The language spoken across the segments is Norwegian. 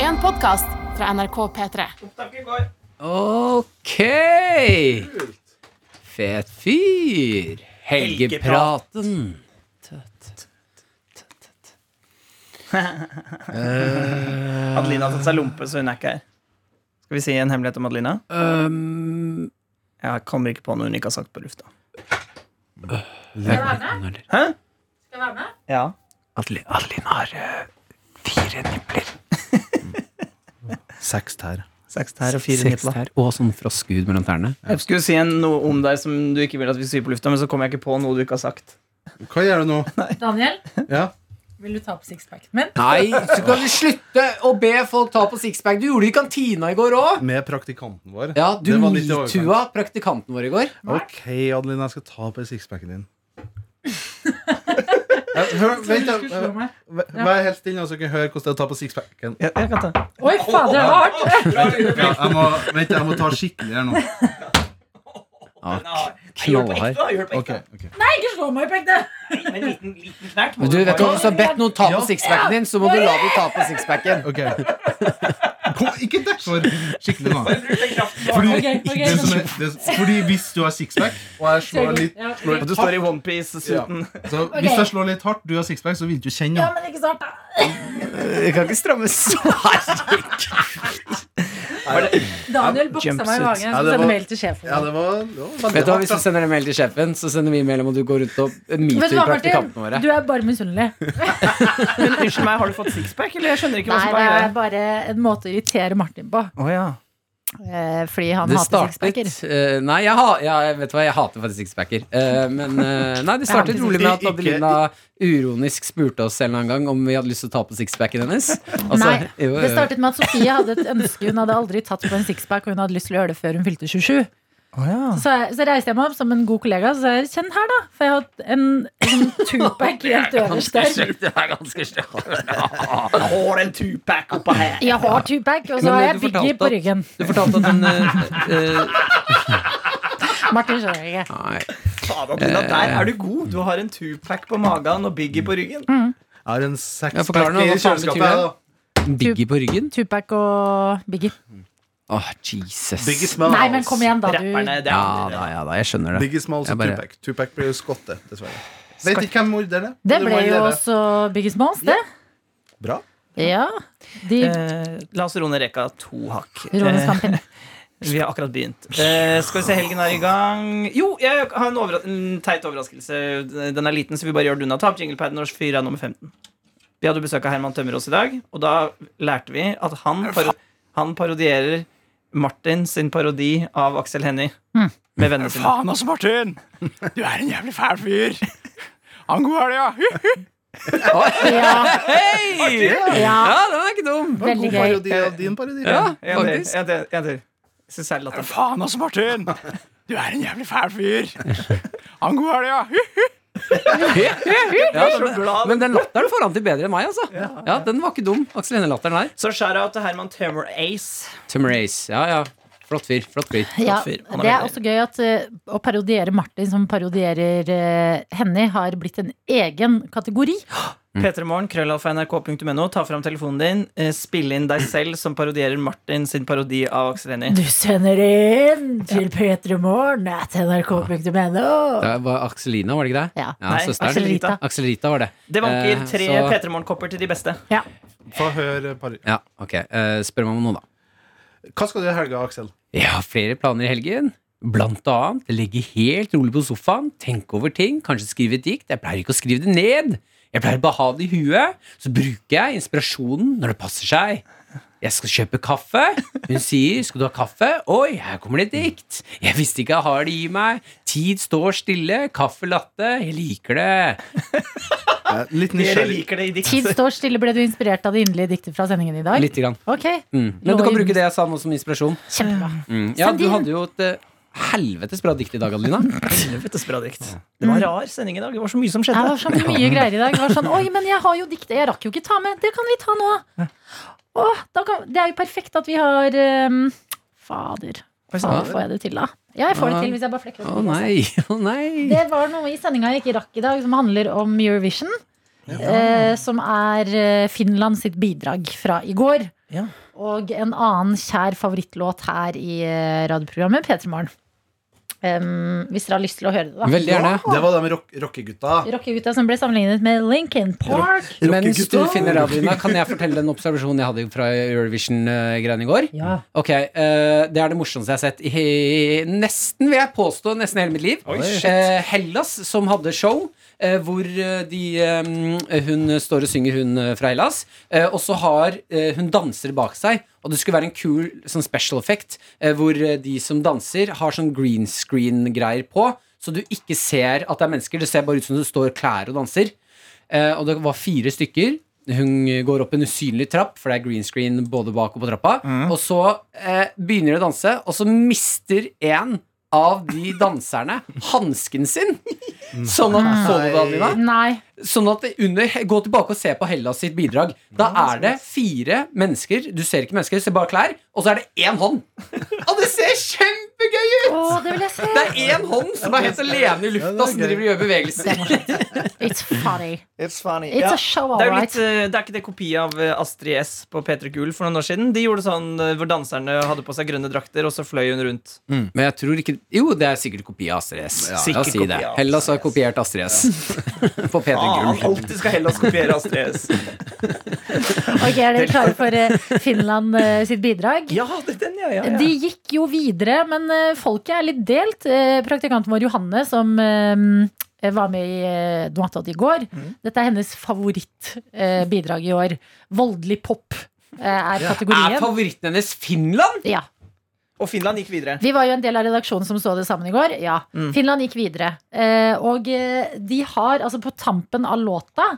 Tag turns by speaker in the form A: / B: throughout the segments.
A: en podkast fra NRK P3.
B: Opptaket går.
C: Ok! Fet fyr. Helgepraten.
B: Adelina har tatt seg lompe, så hun er ikke her. Skal vi si en hemmelighet om Adelina?
C: Um,
B: Jeg kommer ikke på noe hun ikke har sagt på lufta.
C: Adeline
B: Hæ?
A: Skal jeg være med?
B: Ja.
C: har eh, fire nipler.
D: Seks tær.
B: Seks tær og fire
C: Seks
B: nipler.
C: tær Og sånn froskhud mellom tærne.
B: Jeg skulle si en, noe om deg som du ikke vil at vi sier på lufta, men så kom jeg ikke på noe du ikke har sagt.
D: Hva gjør du nå?
A: Daniel,
D: Ja.
A: vil du ta opp sixpacken min?
C: Nei, så kan du slutte å be folk ta på sixpack. Du gjorde det i kantina i går òg.
D: Med praktikanten vår.
C: Ja, du
D: Det var litt i
C: metoo-a praktikanten vår i går.
D: Ok, Adeline, jeg skal ta på sixpacken din. Jeg- Hør, vent,
A: Du skulle slå
D: jeg-
A: meg.
D: v- vær helt stille, så dere hører hvordan det er å ta på sixpacken.
B: Jeg, jeg kan ta.
A: Oi, fader, det var hardt!
D: Ja, jeg må, vent, jeg må ta skikkelig her nå.
C: Ja, knallhard.
D: Ok, ok.
A: Nei, ikke slå meg på ekte!
C: Men du vet du, hva, Hvis du har bedt noen ta på sixpacken din, så må du la dem ta på sixpacken.
D: Ok. Kom, ikke derfor! Skikkelig nå.
B: Fordi
D: Fordi,
A: Ok, ok.
D: det som er, det, fordi hvis du har sixpack, og jeg slår litt
A: Ja, ok.
D: slår
B: Og
D: litt
B: du
D: hardt,
B: står i onepiece-suiten.
D: så Hvis jeg slår litt hardt, du har sixpack, så vil du kjenne
A: ja,
D: ja.
A: men ikke så hardt, da.
C: Det kan ikke strammes så hardt.
A: Daniel boksa meg i
B: Jumpsuit.
A: magen. Jeg
D: Ja,
A: skal
D: det var-
A: sende mail til sjefen.
D: Ja, det var, det var
C: Vet
D: veldig
C: du hva,
D: hardt.
C: Hvis du
D: da.
C: sender en mail til sjefen, så sender vi mail om at du går rundt og
A: Vet du hva, Martin?
C: metoo-praktikantene våre.
A: Du er bare misunnelig.
B: Men unnskyld meg, har du fått sixpack, eller? Jeg skjønner ikke hva
A: Nei,
B: som
A: det
B: er
A: er Altså, bare en måte å irritere Martin på.
B: Å ja.
A: Eh, Fordi han
C: Det
A: hater
C: startet
A: sixpacker.
C: eh, Nei, jeg, ha, ja, jeg vet hva, jeg hater faktisk sixpacker. Eh, men eh, nei, det startet
A: Jeg hater
C: rolig med at
D: sixpack.
C: Adelina uronisk spurte oss en eller annen gang om vi hadde lyst til å ta på sixpacken hennes. Og så-
A: Nei,
C: jo, jo,
A: Det
C: jo.
A: startet med at Sofie hadde et ønske. Hun hadde aldri tatt på en sixpack, og hun hadde lyst til å gjøre det før hun fylte 27.
B: Å ja.
A: Så, så reiste jeg meg opp som en god kollega og sa jeg, kjenn her, da. For jeg har hatt en, en sånn tupac helt øverst der.
B: Jeg har en tupac oppå her.
A: Jeg har tupac, og
C: Men
A: så har
C: du
A: jeg
C: fortalte
A: Biggie på
C: at-
A: ryggen.
C: Du fortalte at hun eh, eh,
A: Martin skjønner ikke.
C: Nei.
B: Faen, Adelina, der er du god. Du har en tupac på magen og Biggie på ryggen.
D: Jeg har en
C: Ja, forklar
D: sexpack
C: nå,
D: i
C: hva faen betyr
D: kjøleskapet. jeg,
C: det?
D: da.
C: Biggie på ryggen?
A: Tupac og Biggie.
C: Åh, Jesus.
D: Biggie Smalls.
A: Nei, men kom igjen, da,
B: Rapperne,
A: du.
B: det er
C: Ja
B: andre.
C: da, ja da, jeg skjønner det.
D: Biggie Smalls
C: Jeg
D: og
C: bare-
D: Tupac. Tupac ble jo skotte, dessverre. Vet ikke hvem morderen er.
A: Det
D: men
A: ble
D: var en
A: jo
D: dere.
A: også Biggie Smalls, det.
D: Bra.
A: Ja. De
B: Eh, la oss roe ned reka to hakk. Eh,
A: Råneskampen.
B: vi har akkurat begynt. Eh, skal vi se, helgen er i gang. Jo, jeg har en, overra en teit overraskelse. Den er liten, så vi bare gjør det unna. Ta opp jinglepaden vår. Fyr er nummer 15. Vi hadde besøk av Herman Tømmerås i dag, og da lærte vi at han, paro han parodierer Martin sin parodi av Aksel Hennie med vennene sine.
E: Faen altså, Martin! Du er en jævlig fæl fyr. Ha en god helg, ja.
A: Ja,
C: Hei!
A: ja.
C: Ja, den er ikke dum.
D: Det var en
A: Veldig
D: god
A: gøy.
D: parodi av din parodi.
C: Ja,
B: En til,
C: faktisk.
B: en til, en til. Synes jeg er latter.
E: Faen altså, Martin! Du er en jævlig fæl fyr. Ha en god helg, ja.
C: Ja,
B: så glad.
C: men den latteren får han til bedre enn meg, altså. Ja, Den var ikke dum. Aksel Hennie-latteren der.
B: Så shout-out til Herman Tømmer Ace.
C: Tumrace. Ja, ja. Flott fyr. Flott fyr.
A: Ja,
B: Flott fyr. Han er
A: det er
B: veldig-
A: også gøy at eh, å parodiere Martin som parodierer eh, Henny, har blitt en egen kategori. Mm.
B: P3morgen, krøllalfa nrk.no. Ta fram telefonen din. eh, Spill inn deg selv som parodierer Martin sin parodi av Aksel Hennie.
A: Du sender inn til p3morgen at nrk.no.
C: Det var Akselina, var det ikke det?
A: Ja.
C: Ja,
B: Nei,
C: søsteren.
A: Aksel Rita.
C: Akselrita var det.
B: Det vanker
C: Eh,
B: tre
C: så-
B: P3morgen-kopper til de beste.
A: Ja.
D: Få høre parodi.
C: Ja, ok. Eh, spør meg om noe, da.
D: Hva skal du i helga, Aksel?
C: Jeg har flere planer i helgen. Blant annet ligge helt rolig på sofaen, tenke over ting, kanskje skrive et dikt. Jeg pleier ikke å skrive det ned. Jeg pleier bare å ha det i huet. Så bruker jeg inspirasjonen når det passer seg. Jeg skal kjøpe kaffe. Hun sier 'skal du ha kaffe'? Oi, her kommer det et dikt. Jeg visste ikke jeg har det i meg. Tid står stille. Kaffe latte. Jeg liker det.
D: Eh, Litt
B: Dere
D: nysgjerrig.
B: liker det i dikt.
A: Tid står stille. Ble du inspirert av det inderlige diktet fra sendingen i dag?
C: Lite grann.
A: Ok,
C: Mm. Men du kan bruke det jeg sa nå som inspirasjon.
A: kjempebra.
C: Mm. Ja,
A: Send
C: du
A: inn.
C: hadde jo et eh, helvetes bra dikt i dag, Adelina.
B: Helvetes bra dikt. Det var en rar sending i dag. Det var så mye som
A: Mm. Det
B: skjedde.
A: var så mye greier i dag. Det var sånn, Oi, men jeg har jo diktet. Jeg rakk jo ikke ta med. Det kan vi ta nå. Åh, da kan, det er jo perfekt at vi har ehm, Fader.
B: Oi,
A: Fader,
B: sant.
A: får jeg det til, da? Ja, jeg får det til hvis jeg bare flekker
C: Å
A: opp.
C: nei, å nei.
A: Det var noe i sendinga jeg ikke rakk i dag, som handler om Eurovision. eh, som er eh, Finland sitt bidrag fra i går.
B: Ja.
A: Og en annen kjær favorittlåt her i eh, radioprogrammet, P3 Morgen. Em, hvis dere har lyst til å høre det, da.
C: Veldig gjerne.
F: Det var det med rock- rockegutta.
A: Rockegutta som ble sammenlignet med Lincoln Park.
C: Mens du
F: Rockegutta.
C: finner radioen, da, kan jeg fortelle den observasjonen jeg hadde fra Eurovision-greiene i går?
A: Ja.
C: Ok, eh, Det er det morsomste jeg har sett i nesten vil jeg påstå, nesten hele mitt liv. Eh, Hellas, som hadde show. eh, hvor eh, de, eh, hun står og synger, hun eh, fra Hellas. eh, og så har eh, hun danser bak seg. Og det skulle være en kul sånn special effect eh, hvor eh, de som danser, har sånn green screen-greier på. Så du ikke ser at det er mennesker. Det ser bare ut som det står klær og danser. Eh, og det var fire stykker. Hun går opp en usynlig trapp, for det er green screen både bak og på trappa. Og så eh, begynner de å danse, og så mister en av de danserne hansken sin. Sånn at, så du det, Adelina?
A: Nei.
C: Sånn at under, Gå tilbake og se på Hellas sitt bidrag. Da er det fire mennesker. Du ser ikke mennesker, du ser bare klær. Og så er det én hånd. Og det ser kjempegøy ut!
A: Å, det vil jeg se!
C: Det er én hånd som er helt alene i
F: Ja, det er
C: lufta, som
F: gøy.
C: driver og gjør bevegelser.
A: It's funny.
F: It's funny.
A: It's
B: Ja.
A: a show,
B: Det er,
A: all
B: jo
A: right.
B: litt, eh, det er ikke det kopi av eh, Astrid S på P3 Gull for noen år siden? De gjorde sånn eh, hvor danserne hadde på seg grønne drakter, og så fløy hun rundt.
C: Men jeg tror ikke Jo, det er sikkert kopi av Astrid S. La oss
B: Sikkert
C: si
B: kopi
C: det.
B: av
C: Hellas har kopiert Astrid S. På P3
B: Faen,
C: Gull.
B: alltid Ah, skal Hellas kopiere Astrid S.
A: Ok, Er dere klare for eh, Finland eh, sitt bidrag?
B: Ja, det er den, ja, ja, ja.
A: De gikk jo videre, men eh, folket er litt delt. Eh, Praktikanten vår Johanne, som eh, var med i eh, Noatot i går,
B: Mm.
A: dette er hennes favorittbidrag i år. Voldelig pop eh, er
C: Er
A: kategorien.
C: favoritten hennes Finland?
A: Ja.
B: Og Finland gikk videre.
A: Vi var jo en del av redaksjonen som så det sammen i går. Ja, Finland gikk videre. Eh, og eh, de har, altså på tampen av låta,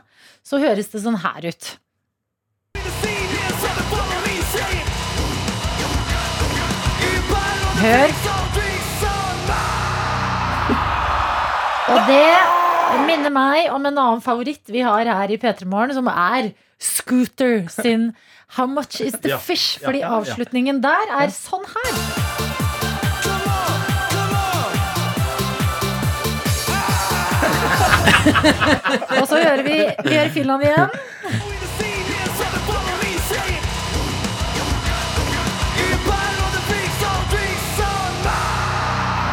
A: så høres det sånn her ut. Hør. Og det minner meg om en annen favoritt vi har her i P3 Morgen, som er Scooter sin How much is the
F: Ja,
A: fish?
F: ja,
A: Fordi
F: ja, ja.
A: avslutningen der er sånn her. Og så hører vi, vi hører Finland igjen.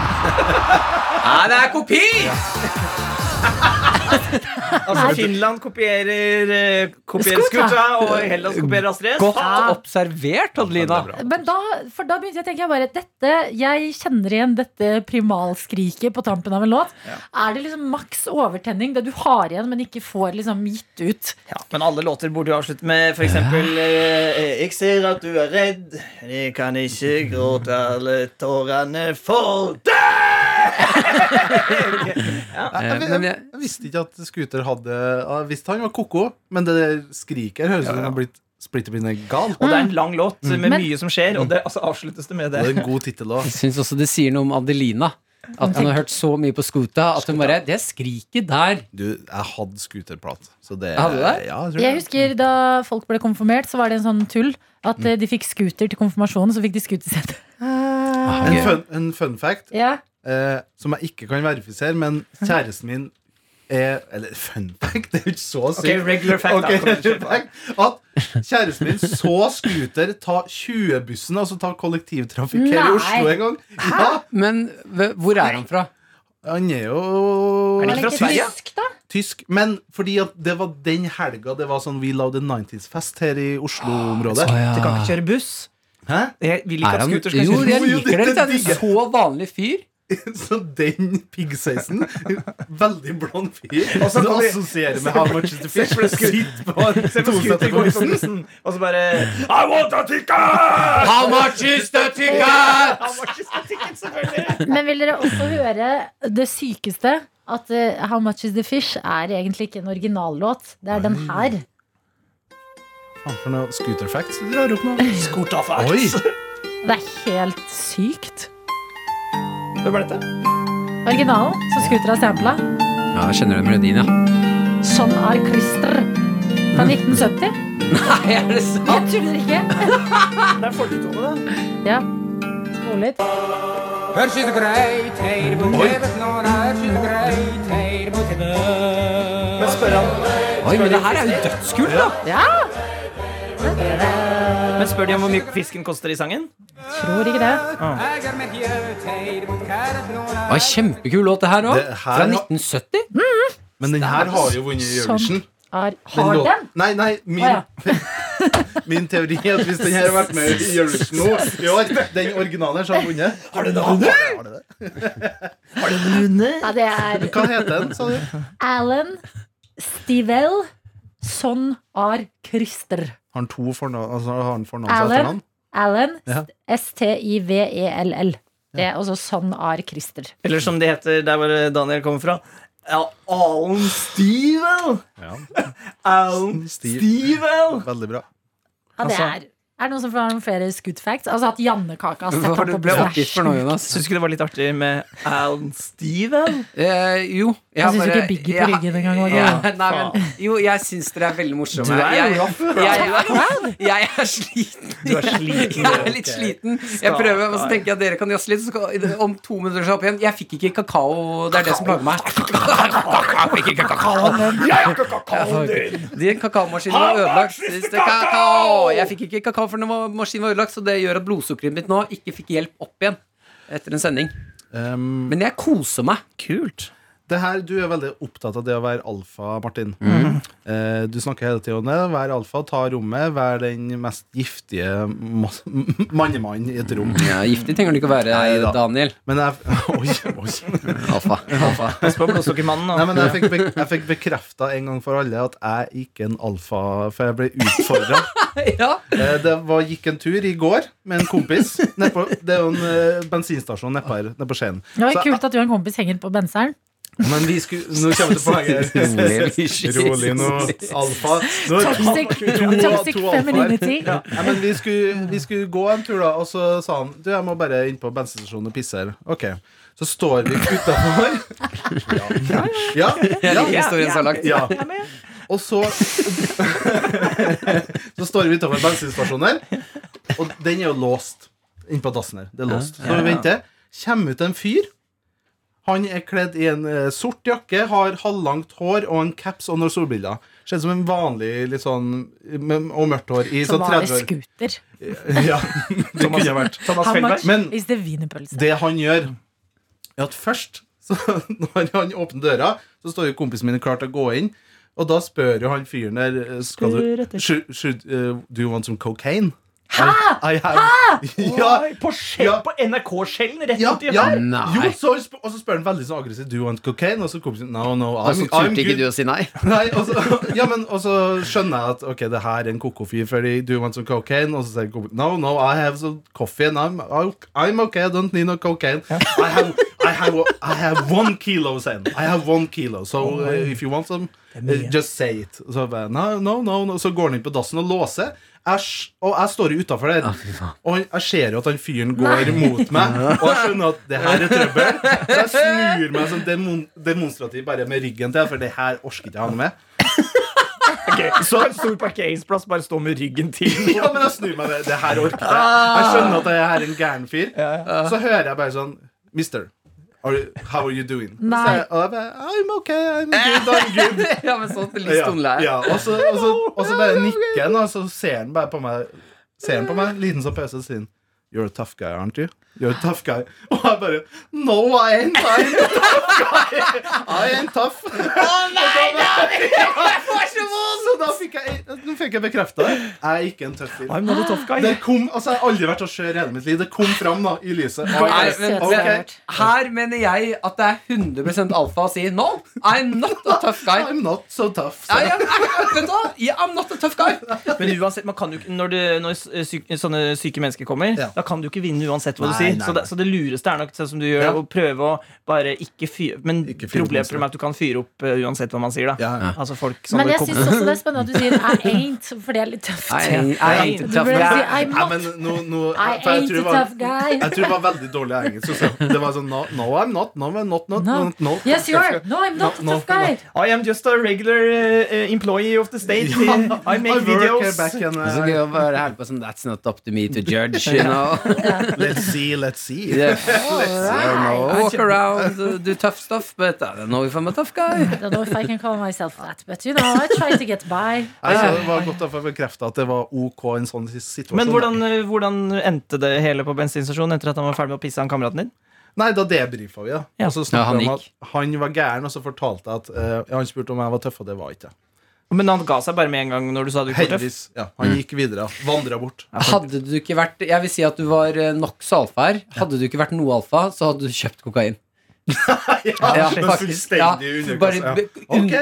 C: Nei, det er kopi!
B: Altså, Finland kopierer, eh, kopierer
A: Skuta.
B: Skuta, og Hellas kopierer Astrid S.
C: Godt observert, Adelina.
A: Men da, for da begynte jeg å tenke jeg bare, dette, Jeg kjenner igjen dette primalskriket på tampen av en låt. Er det liksom maks overtenning, det du har igjen, men ikke får liksom gitt ut?
B: Ja, men alle låter burde jo avslutte med for eksempel eh, Jeg ser at du er redd, jeg kan ikke gråte alle tårene for deg.
F: Jeg, jeg,
C: Eh, men
F: jeg,
C: jeg-
F: visste ikke at Scooter hadde Jeg visste han var koko, men det der skriket her høres ut som han har blitt splitter blinde gal.
B: Og det er en lang låt med
A: Men-
B: mye som skjer, og det altså, avsluttes det med
F: Det
B: det.
F: er en god tittel òg.
C: Jeg syns også det sier noe om Adelina. At hun har hørt så mye på Scooter at hun bare Det skriket der!
F: Du, jeg hadde Scooter-plat. Så det
C: Hadde du det?
F: Ja, jeg tror
A: Jeg
F: det.
A: husker Da folk ble konfirmert, så var det en sånn tull at eh, de fikk scooter til konfirmasjonen. Så fikk de scootersett.
F: En fun, en fun fact
A: Ja.
F: eh, som jeg ikke kan verifisere, men kjæresten min er Eller fun fact, det er jo ikke så sykt.
B: Ok, regular fact, da.
F: Ok,
B: Kom igjen, kjør på.
F: fact. At kjæresten min så Scooter ta 20-bussen, altså ta kollektivtrafikk her
A: Nei.
F: i Oslo en gang. Ja,
C: Men v- hvor er han fra?
F: han er jo
B: Er
A: Er
B: det
A: det
B: fra
A: ikke
B: Sverige?
A: tysk, da?
F: tysk. Men fordi at det var den helga det var sånn We Love the 90s-fest her i Oslo-området.
B: Du kan ikke kjøre buss.
F: Hæ?
B: Jeg vil ikke
C: Er
B: at
C: han
B: scooter skal
C: Jo,
B: kjøre
C: jeg
F: Jo, jo,
C: liker det.
F: det-
C: Det er en
F: det-
C: så vanlig fyr.
F: Så den piggsveisen Veldig blond fyr.
B: Og så
F: Du
B: kommer-
F: assosierer med How much is the fish? Sitt på en
B: Se på scooter går ut på
F: toseterbussen.
B: bussen, og så bare I want a ticket!
C: How much is the ticket?
B: Han var ikke så ticket, selvfølgelig.
A: Men vil dere også høre det sykeste? At eh, How Much Is The Fish er egentlig ikke en originallåt. Det er den her.
F: Faen, for noe scooter facts du drar opp nå. Oi!
A: Det er helt sykt.
B: Hvem er dette?
A: Originalen som Scooter har sampla.
C: Ja, jeg kjenner den melodien, ja.
A: Sånn er Christer. Fra
B: Hm.
A: 1970.
C: Nei, er det sant?
A: Jeg tuller ikke.
B: Det er folketone, da.
A: Ja. Skål litt.
F: Oi.
B: Men spør han
C: Oi, men det her er jo dødskult, da!
B: Men spør de om hvor mye fisken koster i sangen?
A: Tror ikke det.
C: Det var en kjempekul låt, det her òg.
F: Det her
C: Fra
F: var-
C: 1970.
F: Men den her har jo vunnet Eurovision.
A: Har,
F: Den
A: har
F: låt-
A: den?
F: Nei, nei, min,
A: Å,
F: min teori er at hvis den her har vært med i Eurovision nå i år, den originalen her, så har den vunnet. Har den vunnet?
A: Ja, det er
F: Hva heter den, sa du?
A: Alan Stivell Son Ar Christer.
F: Har han to fornavn? Altså, har han fornavn
A: Alan.
F: etternavn?
A: Alan
F: Ja.
A: S-T-I-V-E-L-L. E Det er også Son Ar Christer.
B: Eller som det heter der hvor Daniel kommer fra. Ja, Alan Stevel! Alan
F: Steve.
B: Stevel!
F: Veldig bra.
A: Ja, det
B: Altså-
A: er er det noen som har noen flere good facts? Altså at Jannekaka
C: Hva
A: har sett
C: var det
A: opp på
C: du ble oppgitt for nå,
A: Flash.
C: Jonas?
B: Syns du ikke det var litt artig med Alan Stevel?
C: Eh, jo. Jeg
A: Jeg syns
C: bare-
A: ikke Biggie på
C: jeg-
A: ryggen engang var
C: Ja,
A: gøy.
C: nei, men, jo, jeg syns dere er veldig morsomme.
B: Du er jo
C: jeg,
B: rough,
C: jeg, jeg, jeg er sliten.
B: Du er sliten.
C: Jeg er litt sliten. Jeg prøver, og så
B: Stakkar.
C: tenker jeg at dere kan jazze litt. Så skal, om to minutter så er jeg opp igjen. Jeg fikk ikke kakao. Det er det som plager meg. Jeg fikk ikke kakaoen min. Den kakaomaskinen var ødelagt. Siste kakao! Jeg fikk ikke kakao for den var- maskinen var ødelagt, så det gjør at blodsukkeret mitt nå ikke fikk hjelp opp igjen etter en sending.
F: Um,
C: Men jeg koser meg.
B: Kult.
F: det her, du er veldig opptatt av det å være alfa, Martin. Eh, du snakker hele tiden om det. Vær alfa, ta rommet. Vær den mest giftige mas- mannemannen i et rom.
C: Ja, giftig trenger du ikke å være,
F: Neida.
C: Daniel.
F: Men jeg, oi, oi.
C: Alfa.
B: Pass på blodsukkermannen.
F: Nei,
B: da.
F: men jeg fikk, be, jeg fikk bekrefta en gang for alle at jeg er ikke en alfa, for jeg ble utfordra.
C: ja.
F: Eh, Det var, gikk en tur i går med en kompis. ned på- det er jo en eh, bensinstasjon nedpå her, ned på Skien.
A: Det var
F: Så-
A: kult at du og en kompis henger på benseren.
F: Men vi skulle Nå kommer det poenget. her. Rolig nå, alfa. Nå er to-
A: Toxic, toxic
F: to alfaer.
A: femininity.
F: Ja, men vi skulle, vi skulle gå en tur, da, og så sa han Du, jeg må bare inn på bensinstasjonen og pisse her. Ok. Så står vi utafor. Ja. Ja, ja, ja,
C: Historien så langt.
F: ja. Og så Så står vi utenfor bensinstasjonen her, og den er jo låst inn på dassen her. Det er låst. Så vi venter. Kommer ut en fyr. Han er kledd i en eh, sort jakke, har halvlangt hår og en caps og noen solbriller. Ser ut som en vanlig litt sånn med, Og mørkt hår i
A: Så
F: sånn
A: var det
F: 30 år.
A: scooter.
F: Ja, det kunne jeg vært.
B: Thomas
A: How much
B: Felberg.
F: Men-
A: is the wienerpølse?
F: Det han gjør, er at først, så, når han åpner døra, så står jo kompisen min klar til å gå inn. Og da spør jo han fyren der eh, skal
B: Spør
F: du,
B: etter.
F: should, should, uh, Do you want some cocaine? I, I have, Ja,
B: Oi, På, skjell-
F: Ja.
B: på NRK-skjellen rett
F: ja,
B: ut i
F: ja.
C: Nei.
F: Jo, så, han sp- og så spør han veldig sånn aggressivt Do you want cocaine? Og så kompisen No, no,
C: Og
F: I'm,
C: så
F: I'm
C: turte ikke
F: good.
C: du å si nei?
F: Nei, og så, ja, men, og så skjønner jeg at Ok, det her er en koko-fyr Fordi do you want some cocaine? Og så sier kompisen No, no, I have some coffee And I'm, I'm okay, I don't need no cocaine I have, I have, I have one kilo, sier han. I have one kilo So uh, if you want some uh, Just say it Og Så bare, no, no, no, no Så går han inn på dassen og låser jeg, s- og jeg står jo utenfor der Og han- jeg ser jo at han fyren går mot meg Og jeg skjønner at det her er trøbbel Så jeg snur meg som demon, demonstrativ Bare med ryggen til For det her orsker ikke jeg ha noe med
B: Ok, Så en stor parkeringsplass, bare stå med ryggen til.
F: Ja, men jeg snur meg det. Det her orker jeg. Jeg skjønner at jeg er en gæren fyr. Så hører jeg bare sånn Mister, are you, how are you doing?
A: Nei.
F: Så jeg, og jeg bare I'm okay, I'm good, I'm good.
C: Ja, men sånn litt
F: Ja,
C: stoneleie.
F: ja, og, så, og, så, og så bare nikker han, og så ser han bare på meg. Ser han på meg, liten som pøse, og sier han, You're a tough guy, aren't you? You're a tough guy. Og jeg bare No, I ain't, I ain't a tough guy. I ain't tough. Så da fikk jeg, nå fikk jeg bekrefta det. Jeg er ikke en tøff fyr.
B: I'm not a tough guy.
F: Det kom, altså Jeg har aldri vært så skjør i hele mitt liv. Det kom fram da, i lyset.
C: Nei,
A: Det
C: men,
A: er det søteste jeg har
C: men,
A: hørt.
C: her mener jeg at det er 100 alfa å si no. I'm not a tough guy.
F: I'm not so tough.
C: I
F: Så.
C: am, I- vet du hva? Yeah, I'm not a tough guy.
B: Men uansett, man kan jo ikke, når, det, når syk, sånne syke mennesker kommer,
F: Ja.
B: da kan du ikke vinne uansett hva du
F: Nei,
B: sier.
F: nei,
B: Så, det, så det lureste er nok sånn som du gjør,
F: Ja.
B: å prøve å bare ikke fyre Men
F: Ikke fyre opp
B: problemet er at du kan fyre opp eh, uansett hva man sier, da.
F: Ja, ja.
B: Altså folk som
A: Men
B: det
A: jeg syns
B: kommer-
A: også det er spennende at du sier I ain't, for det er litt tøft.
B: ain't a
A: Du burde si I'm
F: Nei,
A: not.
F: men nå, nå,
A: I
F: for jeg tror
A: ain't a
F: det var-
A: tough guy.
F: Jeg tror det var veldig dårlig engelsk. Så det var sånn No, no I'm not. No, I'm not. not,
A: No.
F: not, not.
A: Yes, you are. No, I'm not a
F: No,
A: tough guy.
B: I am just a regular eh, employee of the state. I
F: I
B: make
F: work here
B: videos.
F: back and,
C: Det er så
F: uh,
C: gøy å være her på sånn That's not up to me to judge, you know.
F: Let's see, let's see.
C: Yeah. I Walk around, uh, do tough stuff, but I don't know if I'm a tough guy.
A: I don't know if I can call myself that, but you know, I try to get by.
F: Nei, så det var godt å få bekreftet at det var ok i en sånn situasjon.
B: Men hvordan, eh, hvordan endte det hele på bensinstasjonen etter at han var ferdig med å pisse han kameraten din?
F: Nei, da debrifa vi, da.
B: Ja.
F: Og så
C: Ja,
F: snakket
C: han
F: vi om
C: gikk.
F: at han var gæren, og så fortalte jeg at eh, Han spurte om jeg var tøff, og det var ikke jeg.
B: Men han ga seg bare med en gang når du sa du ikke var tøff?
F: Heldigvis. Ja, han
C: Mm.
F: gikk videre. Vandra bort.
C: Hadde du ikke vært Jeg vil si at du var eh, nokså alfa her. Hadde du ikke vært noe alfa, så hadde du kjøpt kokain. Ja,
F: men
C: faktisk. Ja,
F: underkast,
C: bare-
F: ja.
C: be-
F: Ok.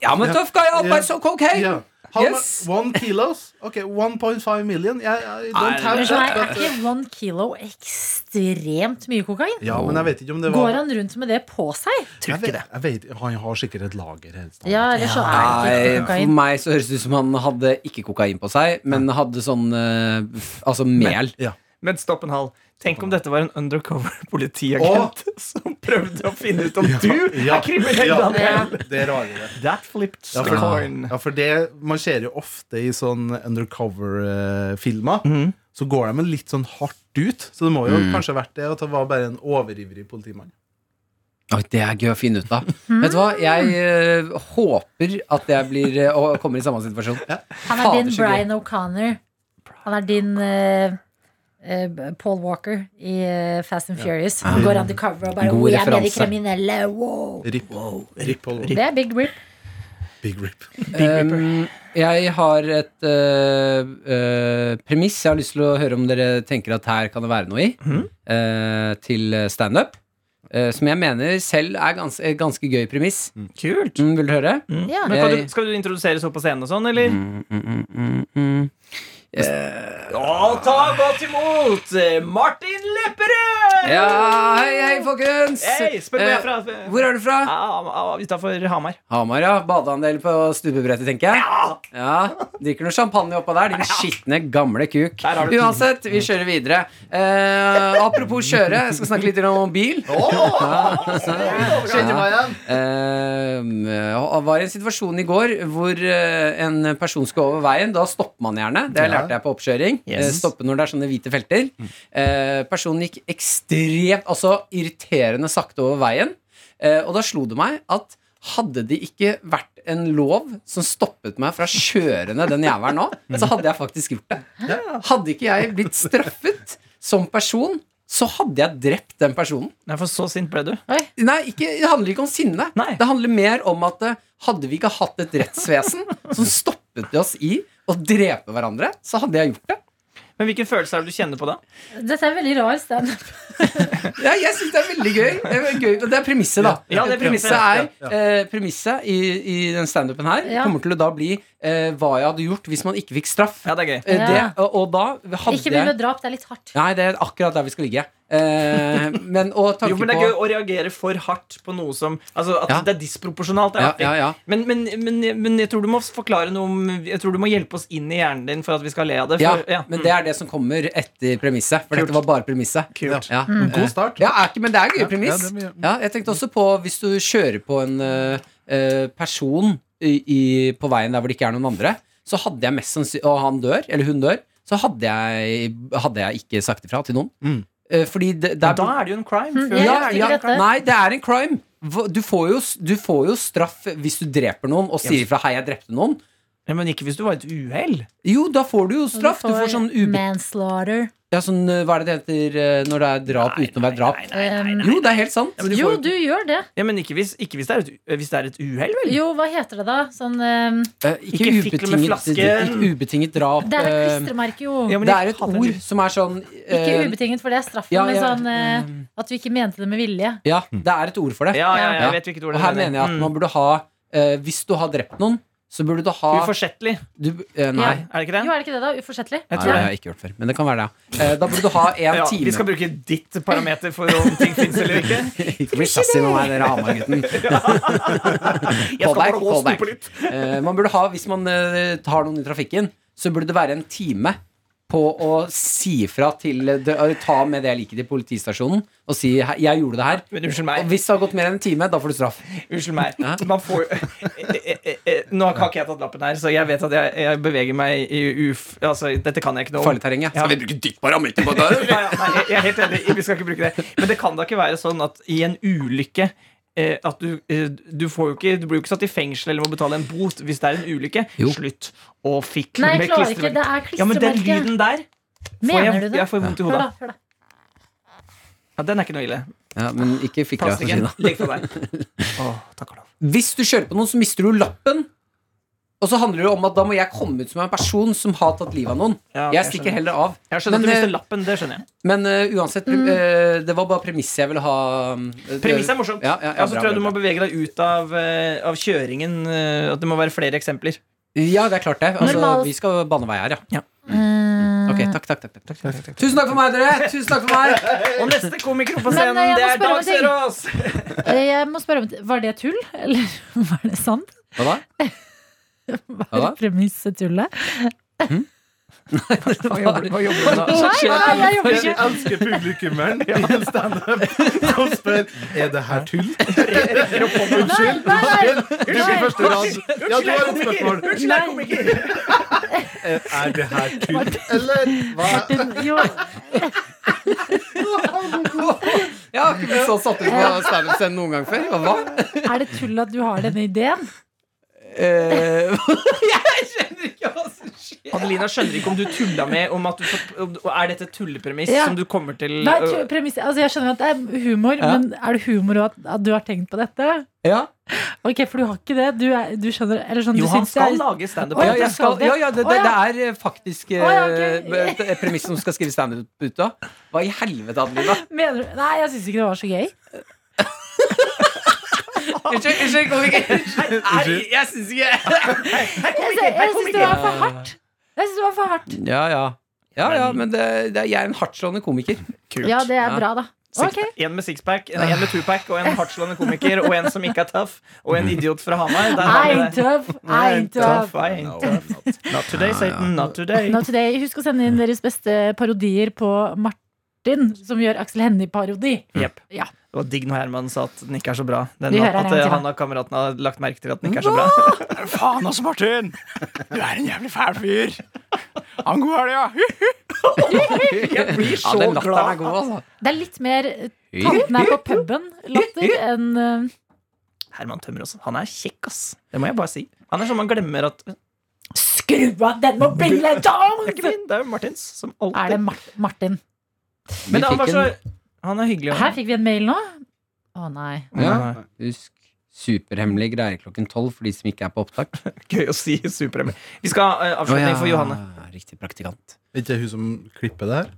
C: Ja, men tøff guy, arbeids
F: Ja.
C: og kokain!
F: Ja. How mu-
C: Yes.
F: One kilos? Ok, 1.5 million? Jeg, I
B: Nei,
F: don't have
A: Men så er
F: that.
A: ikke one kilo ekstremt mye kokain?
F: Ja, men jeg vet ikke om det
A: Går
F: var
A: han rundt med det på seg?
F: jeg vet, jeg vet, Han har sikkert et lager. helt sant.
A: Ja, eller så er det
C: Nei,
A: ikke
C: for
A: kokain.
C: meg så høres det ut som han hadde ikke kokain på seg, men hadde sånn eh, f- Altså mel.
B: Men stopp en hal. Tenk om dette var en undercover politiagent som prøvde å finne ut om du
F: ja,
B: er kriminell.
F: ja.
B: Daniel.
F: Det er rarere.
B: That flipped
F: Ja, for-
B: coin.
F: Ja, for det man ser jo ofte i sånn undercover-filmer. Så går de litt sånn hardt ut. Så det må jo kanskje ha vært det at det var bare en overivrig politimann.
C: Oi, det er gøy å finne ut av. Vet du hva, jeg eh, håper at jeg blir eh, og kommer i samme situasjon.
A: Han er din
C: Fader, så gøy.
A: Brian O'Connor. Han er din eh, eh, Paul Walker i eh, Fast and Furious. Han går undercover og bare
C: God
A: «Oi, Jeg er med de
C: referanse.
A: kriminelle. Wow.
F: Rip. Rip Paul Walker.
A: Det er big rip.
F: Big rip.
C: Um, jeg har et eh, eh, premiss jeg har lyst til å høre om dere tenker at her kan det være noe i,
B: Mhm.
C: eh, til standup. Uh, som jeg mener selv er gans et ganske gøy premiss.
B: Kult.
C: Mm, vil du høre?
A: Ja.
B: Men kan du,
C: Jeg-
B: skal du introduseres opp på scenen og sånn, eller?
C: Mm, mm, mm, mm, mm.
B: Ja, ta godt imot eh, Martin Lepperød!
C: Ja, hei, hei, folkens!
B: Hei, spør hvor jeg
C: Eh,
B: er fra.
C: Hvor er du fra?
B: Utafor Hamar.
C: Hamar, ja. Badeandel på stupebrettet, tenker jeg. Ja, Drikker noe champagne oppå der, din skitne, gamle kuk.
B: Der har du den.
C: Uansett, vi kjører videre. Eh, apropos kjøre, jeg skal snakke litt om bil.
F: Kjenner meg igjen.
C: Eh, jeg var i en situasjon i går hvor eh, en person skal over veien. Da stopper man gjerne. Det
F: Ja.
C: lærte jeg på oppkjøring.
B: Yes.
C: Eh, Stoppe når det er sånne hvite felter. Eh, Personen gikk ekstremt Altså irriterende sakte over veien. Eh, Og da slo det meg at hadde det ikke vært en lov som stoppet meg fra kjørende den jævelen nå, så hadde jeg faktisk gjort det. Hadde ikke jeg blitt straffet som person, så hadde jeg drept den personen.
B: Nei, for så sint ble du.
C: Nei, ikke, det handler ikke om sinne.
B: Nei.
C: Det handler mer om at eh, hadde vi ikke hatt et rettsvesen som stoppet oss i å drepe hverandre, så hadde jeg gjort det.
B: Men hvilken følelse er det du kjenner på da?
A: Dette er veldig rar standup.
C: Ja, jeg syns det er veldig gøy. Det er, gøy. Det er premisset, da.
B: Ja, det er premisset.
C: er, eh, premisset i, i den standupen her
A: Ja.
C: kommer til å da bli eh, hva jeg hadde gjort hvis man ikke fikk straff.
B: Ja, det er gøy.
C: Eh, det,
A: Ja.
C: og, og da hadde
A: Ikke begynn
C: jeg
A: med drap, det er litt hardt.
C: Nei, det er akkurat der vi skal ligge. Eh, men og tanke
B: Jo, men det
C: på
B: er gøy å reagere for hardt på noe som Altså at
C: Ja.
B: det er disproporsjonalt. Det er
C: ja,
B: artig.
C: ja, ja.
B: Men, men, men, men jeg tror du må forklare noe om Jeg tror du må hjelpe oss inn i hjernen din for at vi skal le av det.
C: Ja,
B: For, ja.
C: men det er det som kommer etter premisset. For dette var bare premisset.
B: Kult.
C: Ja. Mm.
F: God start.
C: Mhm. Ja, er ikke, men det er gøy premiss.
F: ja, det
C: Ja,
F: er mye-
C: jeg tenkte også på hvis du kjører på en eh, eh, person i, i, på veien der hvor det ikke er noen andre, så hadde jeg mest sannsynlig Og han dør, eller hun dør, så hadde jeg, hadde jeg ikke sagt ifra til noen.
F: Mm.
C: Eh, fordi det,
B: Men
C: det er
B: Da er det jo en crime.
A: Mm,
B: føler
A: ja,
B: jeg.
A: ja. ikke dette.
C: Nei, det er en crime. Hva- Du får, jo, s- du får jo straff hvis du dreper noen og sier ifra 'hei, jeg drepte noen'.
B: Ja, Men ikke hvis du var et uhell.
C: Jo, da får du jo straff. Du får sånn ube...
A: Manslaughter.
C: Ja, sånn, eh, hva er det det heter eh, når det er drap uten å være drap?
A: Um,
C: Jo, det er helt sant.
B: men du
A: jo,
B: får-
A: du gjør det.
B: Ja, men ikke hvis, ikke hvis det er et, hvis det er et uhell, vel?
A: Jo, hva heter det da? Sånn um,
C: Eh, ikke,
B: Ikke fikle med
C: ubetinget,
B: flasken.
C: ikke ubetinget drap.
A: Det er et
C: eh,
A: klistremerke, jo.
B: Ehm, Ja, ehm, men
C: det
B: jeg
C: er et
B: hater
C: ord
B: det.
C: som er sånn
A: Ikke
C: eh,
A: ubetinget, for det er straffen,
C: ja,
A: men
C: ja.
A: sånn
B: ehm.
A: eh, at du ikke mente det med vilje.
C: Ja, det er et ord for det.
B: Ja, ja,
A: Ja.
B: jeg Mm. vet hvilket ord
C: Og her mener jeg at man burde ha eh, Hvis du har drept noen, så burde du ha
B: Uforsettlig.
C: du, eh, Nei.
B: Er det ikke
A: Jo,
B: det?
A: er det ikke det, da? Uforsettlig?
C: Nei,
B: Jeg
C: det
B: tror
C: har
B: det.
C: jeg ikke gjort før. Men det kan være det. ja. Eh, da burde du ha en
B: Ja, vi
C: time
B: skal bruke ditt parameter for om ting fins eller ikke.
C: Ikke bli sassy med meg, dere Hamar-gutten.
B: Jeg skal
C: Callback,
B: bare gå og
C: callback.
B: snope litt.
C: Eh, man burde ha, hvis man eh, tar noen i trafikken, så burde det være en time på å si ifra til det, eh, Ta med det liket til politistasjonen og si «Hei, 'jeg gjorde det her'.
B: Men unnskyld
C: Og
B: meg.
C: hvis det har gått mer enn en time, da får du straff.
B: Unnskyld meg. Man får Eh, eh, eh, Nå har ikke jeg tatt lappen her, så jeg vet at jeg, jeg beveger meg i uf... Altså, dette kan jeg ikke noe om.
C: Farlig terreng, ja.
B: Ja.
C: Skal vi bruke ditt parameter på det?
B: Ja, ja, nei, jeg jeg er helt enig. Vi skal ikke bruke det. Men det kan da ikke være sånn at i en ulykke eh, at du, eh, du, får jo ikke, du blir jo ikke satt i fengsel eller må betale en bot hvis det er en ulykke.
C: Jo.
B: Slutt å fikle
A: Nei,
B: med
A: jeg klarer ikke.
B: klistremerker.
A: Det er
B: Ja, men den
A: klistremerke.
B: lyden der får
A: Mener du
B: jeg,
A: det?
B: jeg får vondt i
A: Hør
B: hodet.
A: da, hør da.
B: Ja, den er ikke noe ille.
C: Ja, men ikke fikk jeg
B: Plast
C: for å si
B: igjen.
C: det.
B: Legg fra deg. Åh, takk og lov.
C: Hvis du kjører på noen, så mister du lappen. Og så handler det om at da må jeg komme ut som en person som har tatt livet av noen.
B: Ja,
C: Jeg
B: jeg
C: stikker
B: skjønner.
C: heller av.
B: Jeg skjønner
C: Men,
B: at du
C: eh,
B: mister lappen. Det skjønner jeg.
C: Men eh, uansett, pre- eh, det var bare premisset jeg ville ha. um, det-
B: Mm. Premisset er morsomt.
C: Ja, ja, ja,
B: så
C: bra,
B: tror jeg
C: bra,
B: du må bevege deg ut av, eh, av kjøringen. eh, At det må være flere eksempler.
C: Ja, det er klart det. Altså,
A: Normal-
C: Vi skal banne vei her, ja.
A: Mm.
C: Ok, takk, takk, takk, takk, takk. Tusen takk for meg, dere! Tusen takk for meg
B: Og neste komiker på
A: Men,
B: scenen,
A: eh, jeg
B: det er
A: må spørre om
B: Dag
A: en ting.
B: Sørås!
A: Eh, Jeg må spørre om det- Var det tull, eller var det sant?
C: Hva da?
A: Var
C: da?
A: premisset tullet?
B: Hva jobber du- hva jobber du med da?
A: Nei, nei, jeg jobber
F: Jeg
A: ikke.
F: elsker publikummeren i en standup som spør Er det her tull.
A: Nei, nei, nei.
F: Du på første rad. Ja, du har et spørsmål. Er er det her tull, eller hva?
A: Martin, jo,
C: Jeg har ikke blitt så satt ut på standup-scenen noen gang før. Og hva?
A: er det tull at du har denne ideen?
C: Eh, jeg skjønner ikke hva som skjer.
B: Adelina skjønner ikke om du tulla med om at du får, om- Er dette et tullepremiss
A: Ja.
B: som du kommer til
A: Nei,
B: øh,
A: tu- premisset Altså, jeg skjønner at det er humor,
C: Ja.
A: men er det humor også at, at du har tenkt på dette?
C: Ja,
A: Ok, for du har ikke det. Du, er, du skjønner Eller sånn,
B: Jo,
A: du
B: han
A: syns det
B: skal
A: er
B: lage standup.
A: Å,
C: ja,
B: Ja,
C: jeg skal, ja, ja det, det, det er eh, faktisk eh,
A: Å, ja, ok.
C: et- et premiss som skal skrive standup ut av. Hva i helvete, Adelina?
A: Mener du Nei, jeg syns ikke det var så gøy.
C: Unnskyld, unnskyld, kom ikke. Nei, jeg syns ikke
A: Jeg, sy- jeg syns det var for hardt. Jeg syns det var for hardt.
C: Ja, ja. Ja, ja, men det, det, jeg er en hardtslående komiker.
A: Ja, det er
C: Ja.
A: bra, da. Ok.
B: En med sixpack, nei, en med twopack og en hardtslående komiker og en som ikke er tøff, og en idiot fra Hamar. Der har
A: I
B: vi
A: ain't
B: det.
A: tough. I ain't tough.
B: I ain't tough. Not today, Satan. Not today.
A: Not today. Husk å sende inn deres beste parodier på Martin, som gjør Aksel Hennie-parodi.
B: Jepp.
A: Ja.
B: Mm. Det var digg når Herman sa at den ikke er så bra. Den,
A: Vi hører
B: at
A: her en
B: eh,
A: til.
B: han og kameraten har lagt merke til at den ikke er så bra.
E: Faen altså, Martin! Du er en jævlig fæl fyr. Ha en god helg, ja.
B: Jeg blir
C: Ja, den latteren er god, altså.
A: Det er litt mer eh, tanten er på puben-latter enn eh,
B: Herman Tømmerås. Han er kjekk, ass. Det må jeg bare si. Han er sånn man glemmer at Det
A: Skru av den mobilen,
B: er ikke
A: Tom!
B: min, det er jo Martins. Som
A: Er det
B: alltid.
A: Mar Martin?
B: Men
C: Vi
B: han var
C: fikk
B: så
C: en-
B: Han er hyggelig.
A: Her fikk vi en mail nå. Å nei.
C: Ja. Husk superhemmelige greier klokken tolv for de som ikke er på opptak.
B: Gøy å si. Superhemmelig. Vi skal ha eh,
C: Å,
B: avslutning
C: ja.
B: for Johanne.
C: Riktig praktikant.
F: Er ikke det hun som klipper det her?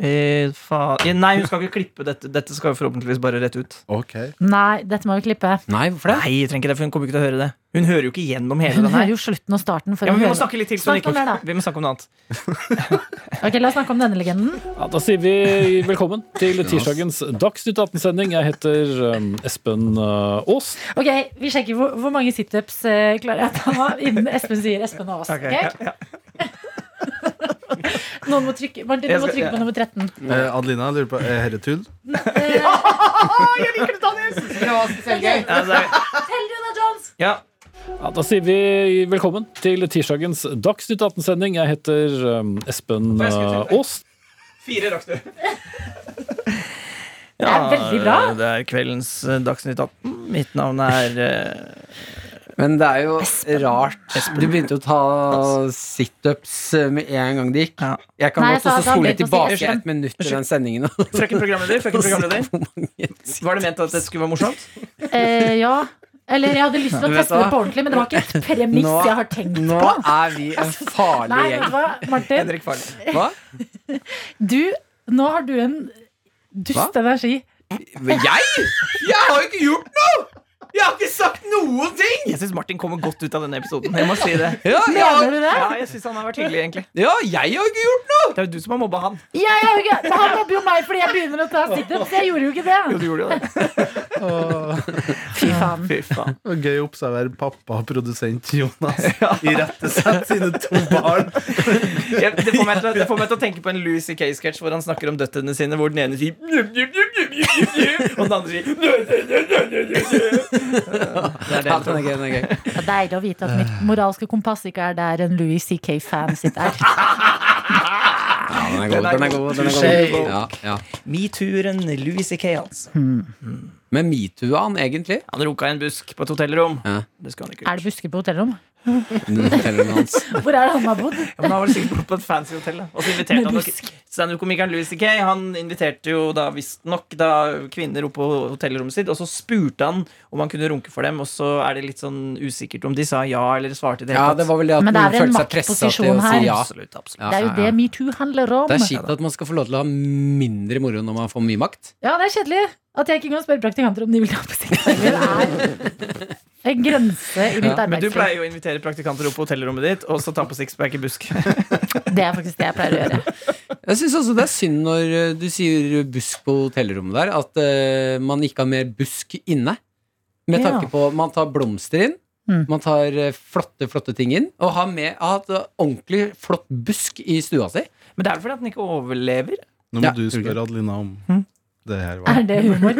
B: Eh, faen. Eh, Nei, hun skal ikke klippe dette. Dette skal jo forhåpentligvis bare rett ut.
F: Ok.
A: Nei, dette må vi klippe.
C: Nei, hvorfor det?
B: Nei, jeg trenger ikke det, for hun kommer ikke til å høre det. Hun hører jo ikke gjennom hele
A: Hun
B: den
A: hører
B: her.
A: jo slutten og starten. For
B: Ja,
A: å
B: men vi må
A: høre.
B: snakke litt til. så den
A: Snakk om det, da.
B: ikke- Vi må snakke om noe annet.
A: Ok, La oss snakke om denne legenden.
G: Ja, da sier vi velkommen til tirsdagens Dagsnytt 18-sending. Jeg heter um, Espen uh, Aas.
A: Ok, Vi sjekker hvor, hvor mange situps eh, klarer jeg å ta nå, innen Espen sier Espen og oss.
B: Ok,
A: ok?
B: ja,
A: Noen må trykke, Martin,
B: Jeg
A: du må
B: skal-
A: trykke på nummer 13.
F: Eh, Adelina jeg lurer på Er dette tull?
A: Eh,
B: Ja, det er-
A: Helena Jones!
B: ja.
G: Ja, da sier vi velkommen til tirsdagens Dagsnytt 18-sending. Jeg heter um, Espen
B: Får jeg skru
G: uh,
B: til?
G: Aas.
B: Fire rakk du.
A: Det er veldig bra.
B: Det er kveldens eh, Dagsnytt 18. Mitt navn er eh,
C: Men det er jo rart. Du begynte å ta situps eh, med en gang det gikk.
B: Ja.
C: Jeg kan
A: Nei,
C: godt
A: jeg sa
C: også
A: at han
C: spole
A: begynte å si
C: tilbake
A: Espen.
C: et minutt til den sendingen. og
B: Frøken programleder. Frøken programleder.
C: se hvor mange-
B: Var det ment at det skulle være morsomt?
A: Eh, ja. Eller jeg hadde lyst til å
C: Vet du
A: teste det
C: hva?
A: på ordentlig, men det var ikke et premiss
C: Nå-
A: jeg har tenkt på.
C: Nå er vi en farlig
A: Altså, Nei, vet du
C: gjeng.
A: hva, Martin?
B: Henrik Farley.
C: Hva?
A: Du, nå har du en dust energi.
C: Men jeg? Jeg har jo ikke gjort noe! Jeg har ikke sagt noen ting!
B: Jeg syns Martin kommer godt ut av denne episoden. Jeg må si det.
C: Ja, jeg,
A: Mener
C: har-
A: du det?
B: Ja, jeg syns han har vært hyggelig, egentlig.
C: ja, jeg har ikke gjort noe!
B: Det er jo du som har mobba han.
A: Jeg har jo ikke, men han mobber jo meg fordi jeg begynner å ta situps. Jeg gjorde jo ikke det.
B: Du gjorde jo det.
F: Åh,
A: Fy faen.
B: Fy faen.
F: det var gøy å observere pappa og produsent Jonas irettesette sine to barn.
B: Jeg, det, får meg til, å- det får meg til å tenke på en Louis C.K.-sketsj hvor han snakker om døttene sine, hvor den ene sier «Njum, njum, njum, njum, njum, njum», Og den andre sier «Njum, njum, njum, njum, njum». Det er
C: Ja,
B: det.
C: den er gøy, den er gøy.
A: Det er deilig å vite at mitt moralske kompass ikke er der en Louis CK-fan sitt er.
C: Ja, den er god, den er god. Den er god. Ja, ja.
B: Metoo-en Louis C.K., altså.
C: Med metoo-an, egentlig.
B: Han runka i en busk på et hotellrom.
C: Ja.
B: Det skal han ikke
A: Er det busker på hotellrom?
C: Hotellene hans.
A: Hvor er det han har bodd?
B: Ja, men han var vel sikkert på et fancy hotell. da. Og så inviterte
A: Med
B: han
A: busk.
B: nok- Standup-komikeren Louis C.K. Han inviterte jo da visstnok da kvinner opp på hotellrommet sitt, og så spurte han om han kunne runke for dem, og så er det litt sånn usikkert om de sa ja eller svarte i det
C: Ja,
B: hele
C: det
B: tatt.
C: var vel det at
A: Men det er
C: noen
A: vel en
C: følte seg pressa til å
A: maktposisjon
C: si
A: her.
C: ja.
B: Absolutt, absolutt.
C: Ja,
A: Det er jo
C: ja,
A: det
C: ja.
A: metoo handler om.
C: Det er kjipt at man skal få lov til å ha mindre moro når man får mye makt.
A: Ja, det er kjedelig at jeg ikke kan spørre praktikanter om de vil ta på seg klær. Det er en grense i mitt
C: Ja,
B: Men du
A: arbeidsliv.
B: pleier jo å invitere praktikanter opp på hotellrommet ditt, og så ta på sixpack i busk.
A: Det er faktisk det jeg pleier å gjøre.
C: Jeg synes også Det er synd når eh, du sier busk på hotellrommet der, at eh, man ikke har mer busk inne. Med
A: Ja.
C: tanke på Man tar blomster inn,
A: Mm.
C: man tar eh, flotte flotte ting inn, og har, med, har hatt eh, ordentlig flott busk i stua si.
B: Men det er vel fordi at den ikke overlever?
F: Nå må
C: Ja, Hm?
F: du
C: tror ikke.
F: spørre Adelina om det her. Var.
A: Er det humor?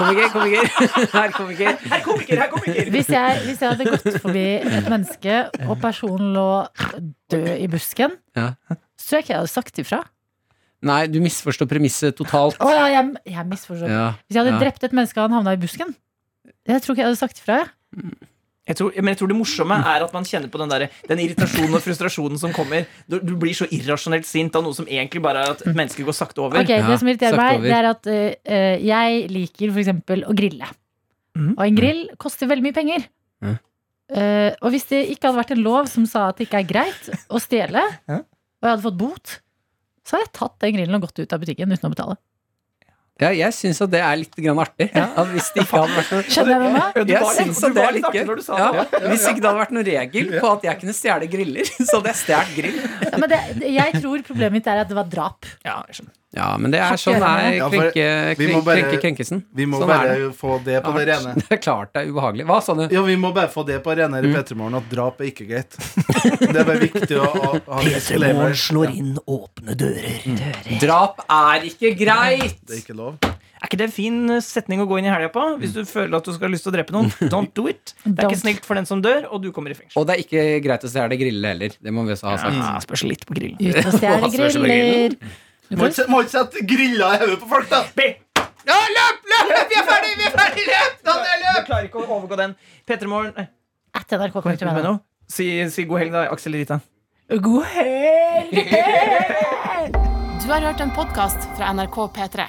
C: Komiker, komiker! Her, komiker.
B: Her komiker, her komiker!
A: Hvis jeg, hvis jeg hadde gått forbi et menneske, og personen lå død i busken,
C: Ja.
A: så tror jeg ikke jeg hadde sagt ifra.
C: Nei, du misforstår premisset totalt.
A: Å ja, jeg, jeg misforstår.
C: Ja.
A: Hvis jeg hadde
C: Ja.
A: drept et menneske og han havna i busken, jeg tror ikke jeg hadde sagt ifra. jeg.
B: Jeg tror, men jeg tror det morsomme er at man kjenner på den, der, den irritasjonen og frustrasjonen som kommer. Du, du blir så irrasjonelt sint av noe som egentlig bare er at et menneske går sakte over.
A: Ok, Det som irriterer
C: sagt
A: meg,
C: over.
A: det er at eh, eh, jeg liker f.eks. å grille.
B: Mhm.
A: Og en grill koster veldig mye penger.
C: Mm. Ja.
A: Eh, og hvis det ikke hadde vært en lov som sa at det ikke er greit å stjele, og jeg hadde fått bot, så hadde jeg tatt den grillen og gått ut av butikken uten å betale.
C: Ja, jeg syns at det er litt grann artig. At hvis det ikke hadde vært noe
A: Skjønner jeg hva jeg mener?
B: Ja, du
C: Jeg
B: var litt-
C: synes
B: du
C: at det
B: var
C: er
B: litt
C: litt
B: artig
C: gøy.
B: når du sa
C: Ja,
B: det.
C: Hvis ikke det hadde vært noen regel på at jeg kunne stjele griller, så hadde jeg stjålet grill.
A: Ja, men det, det- jeg tror problemet mitt er at det var drap.
B: Ja, jeg skjønner.
C: Ja, men det er sånn er
F: Ja, for
C: krenke,
F: vi må
C: krenke,
F: bare-
C: krenke krenkelsen.
F: Vi må
C: Sånn er
F: bare få det på det rene.
C: Det er klart det er ubehagelig. Hva sa du?
F: Ja, vi må bare få det på rene her
C: Hm.
F: i Petremorgen at drap er ikke greit. Det er bare viktig å, å ha en disclaimer.
B: slår inn åpne dører.
C: Drap er ikke greit!
F: Det er ikke lov.
B: Er ikke det en fin eh, setning å gå inn i helga på? Hvis du føler at du skal ha lyst til å drepe noen. Don't do it. Det er
A: Don't.
B: ikke snilt for den som dør, og du kommer i fengsel.
C: Og det er ikke greit å stjele griller heller. Det må vi også ha sagt.
B: Ja, spørs litt på grillen.
A: Ut og stjele
C: Hva spørs det med
A: griller. Du
F: Må
A: får-
F: ikke, må ikke sette griller i hodet på folk, da!
C: Ja, løp, løp, løp! Vi er ferdig! Vi er ferdig! Løp!
B: Jeg klarer ikke å overgå den. eh, Petremorgen
A: At nrk.no.
B: Si, si god helg, da, Aksel Rita.
A: God helg!
H: Du har hørt en podkast fra NRK P3.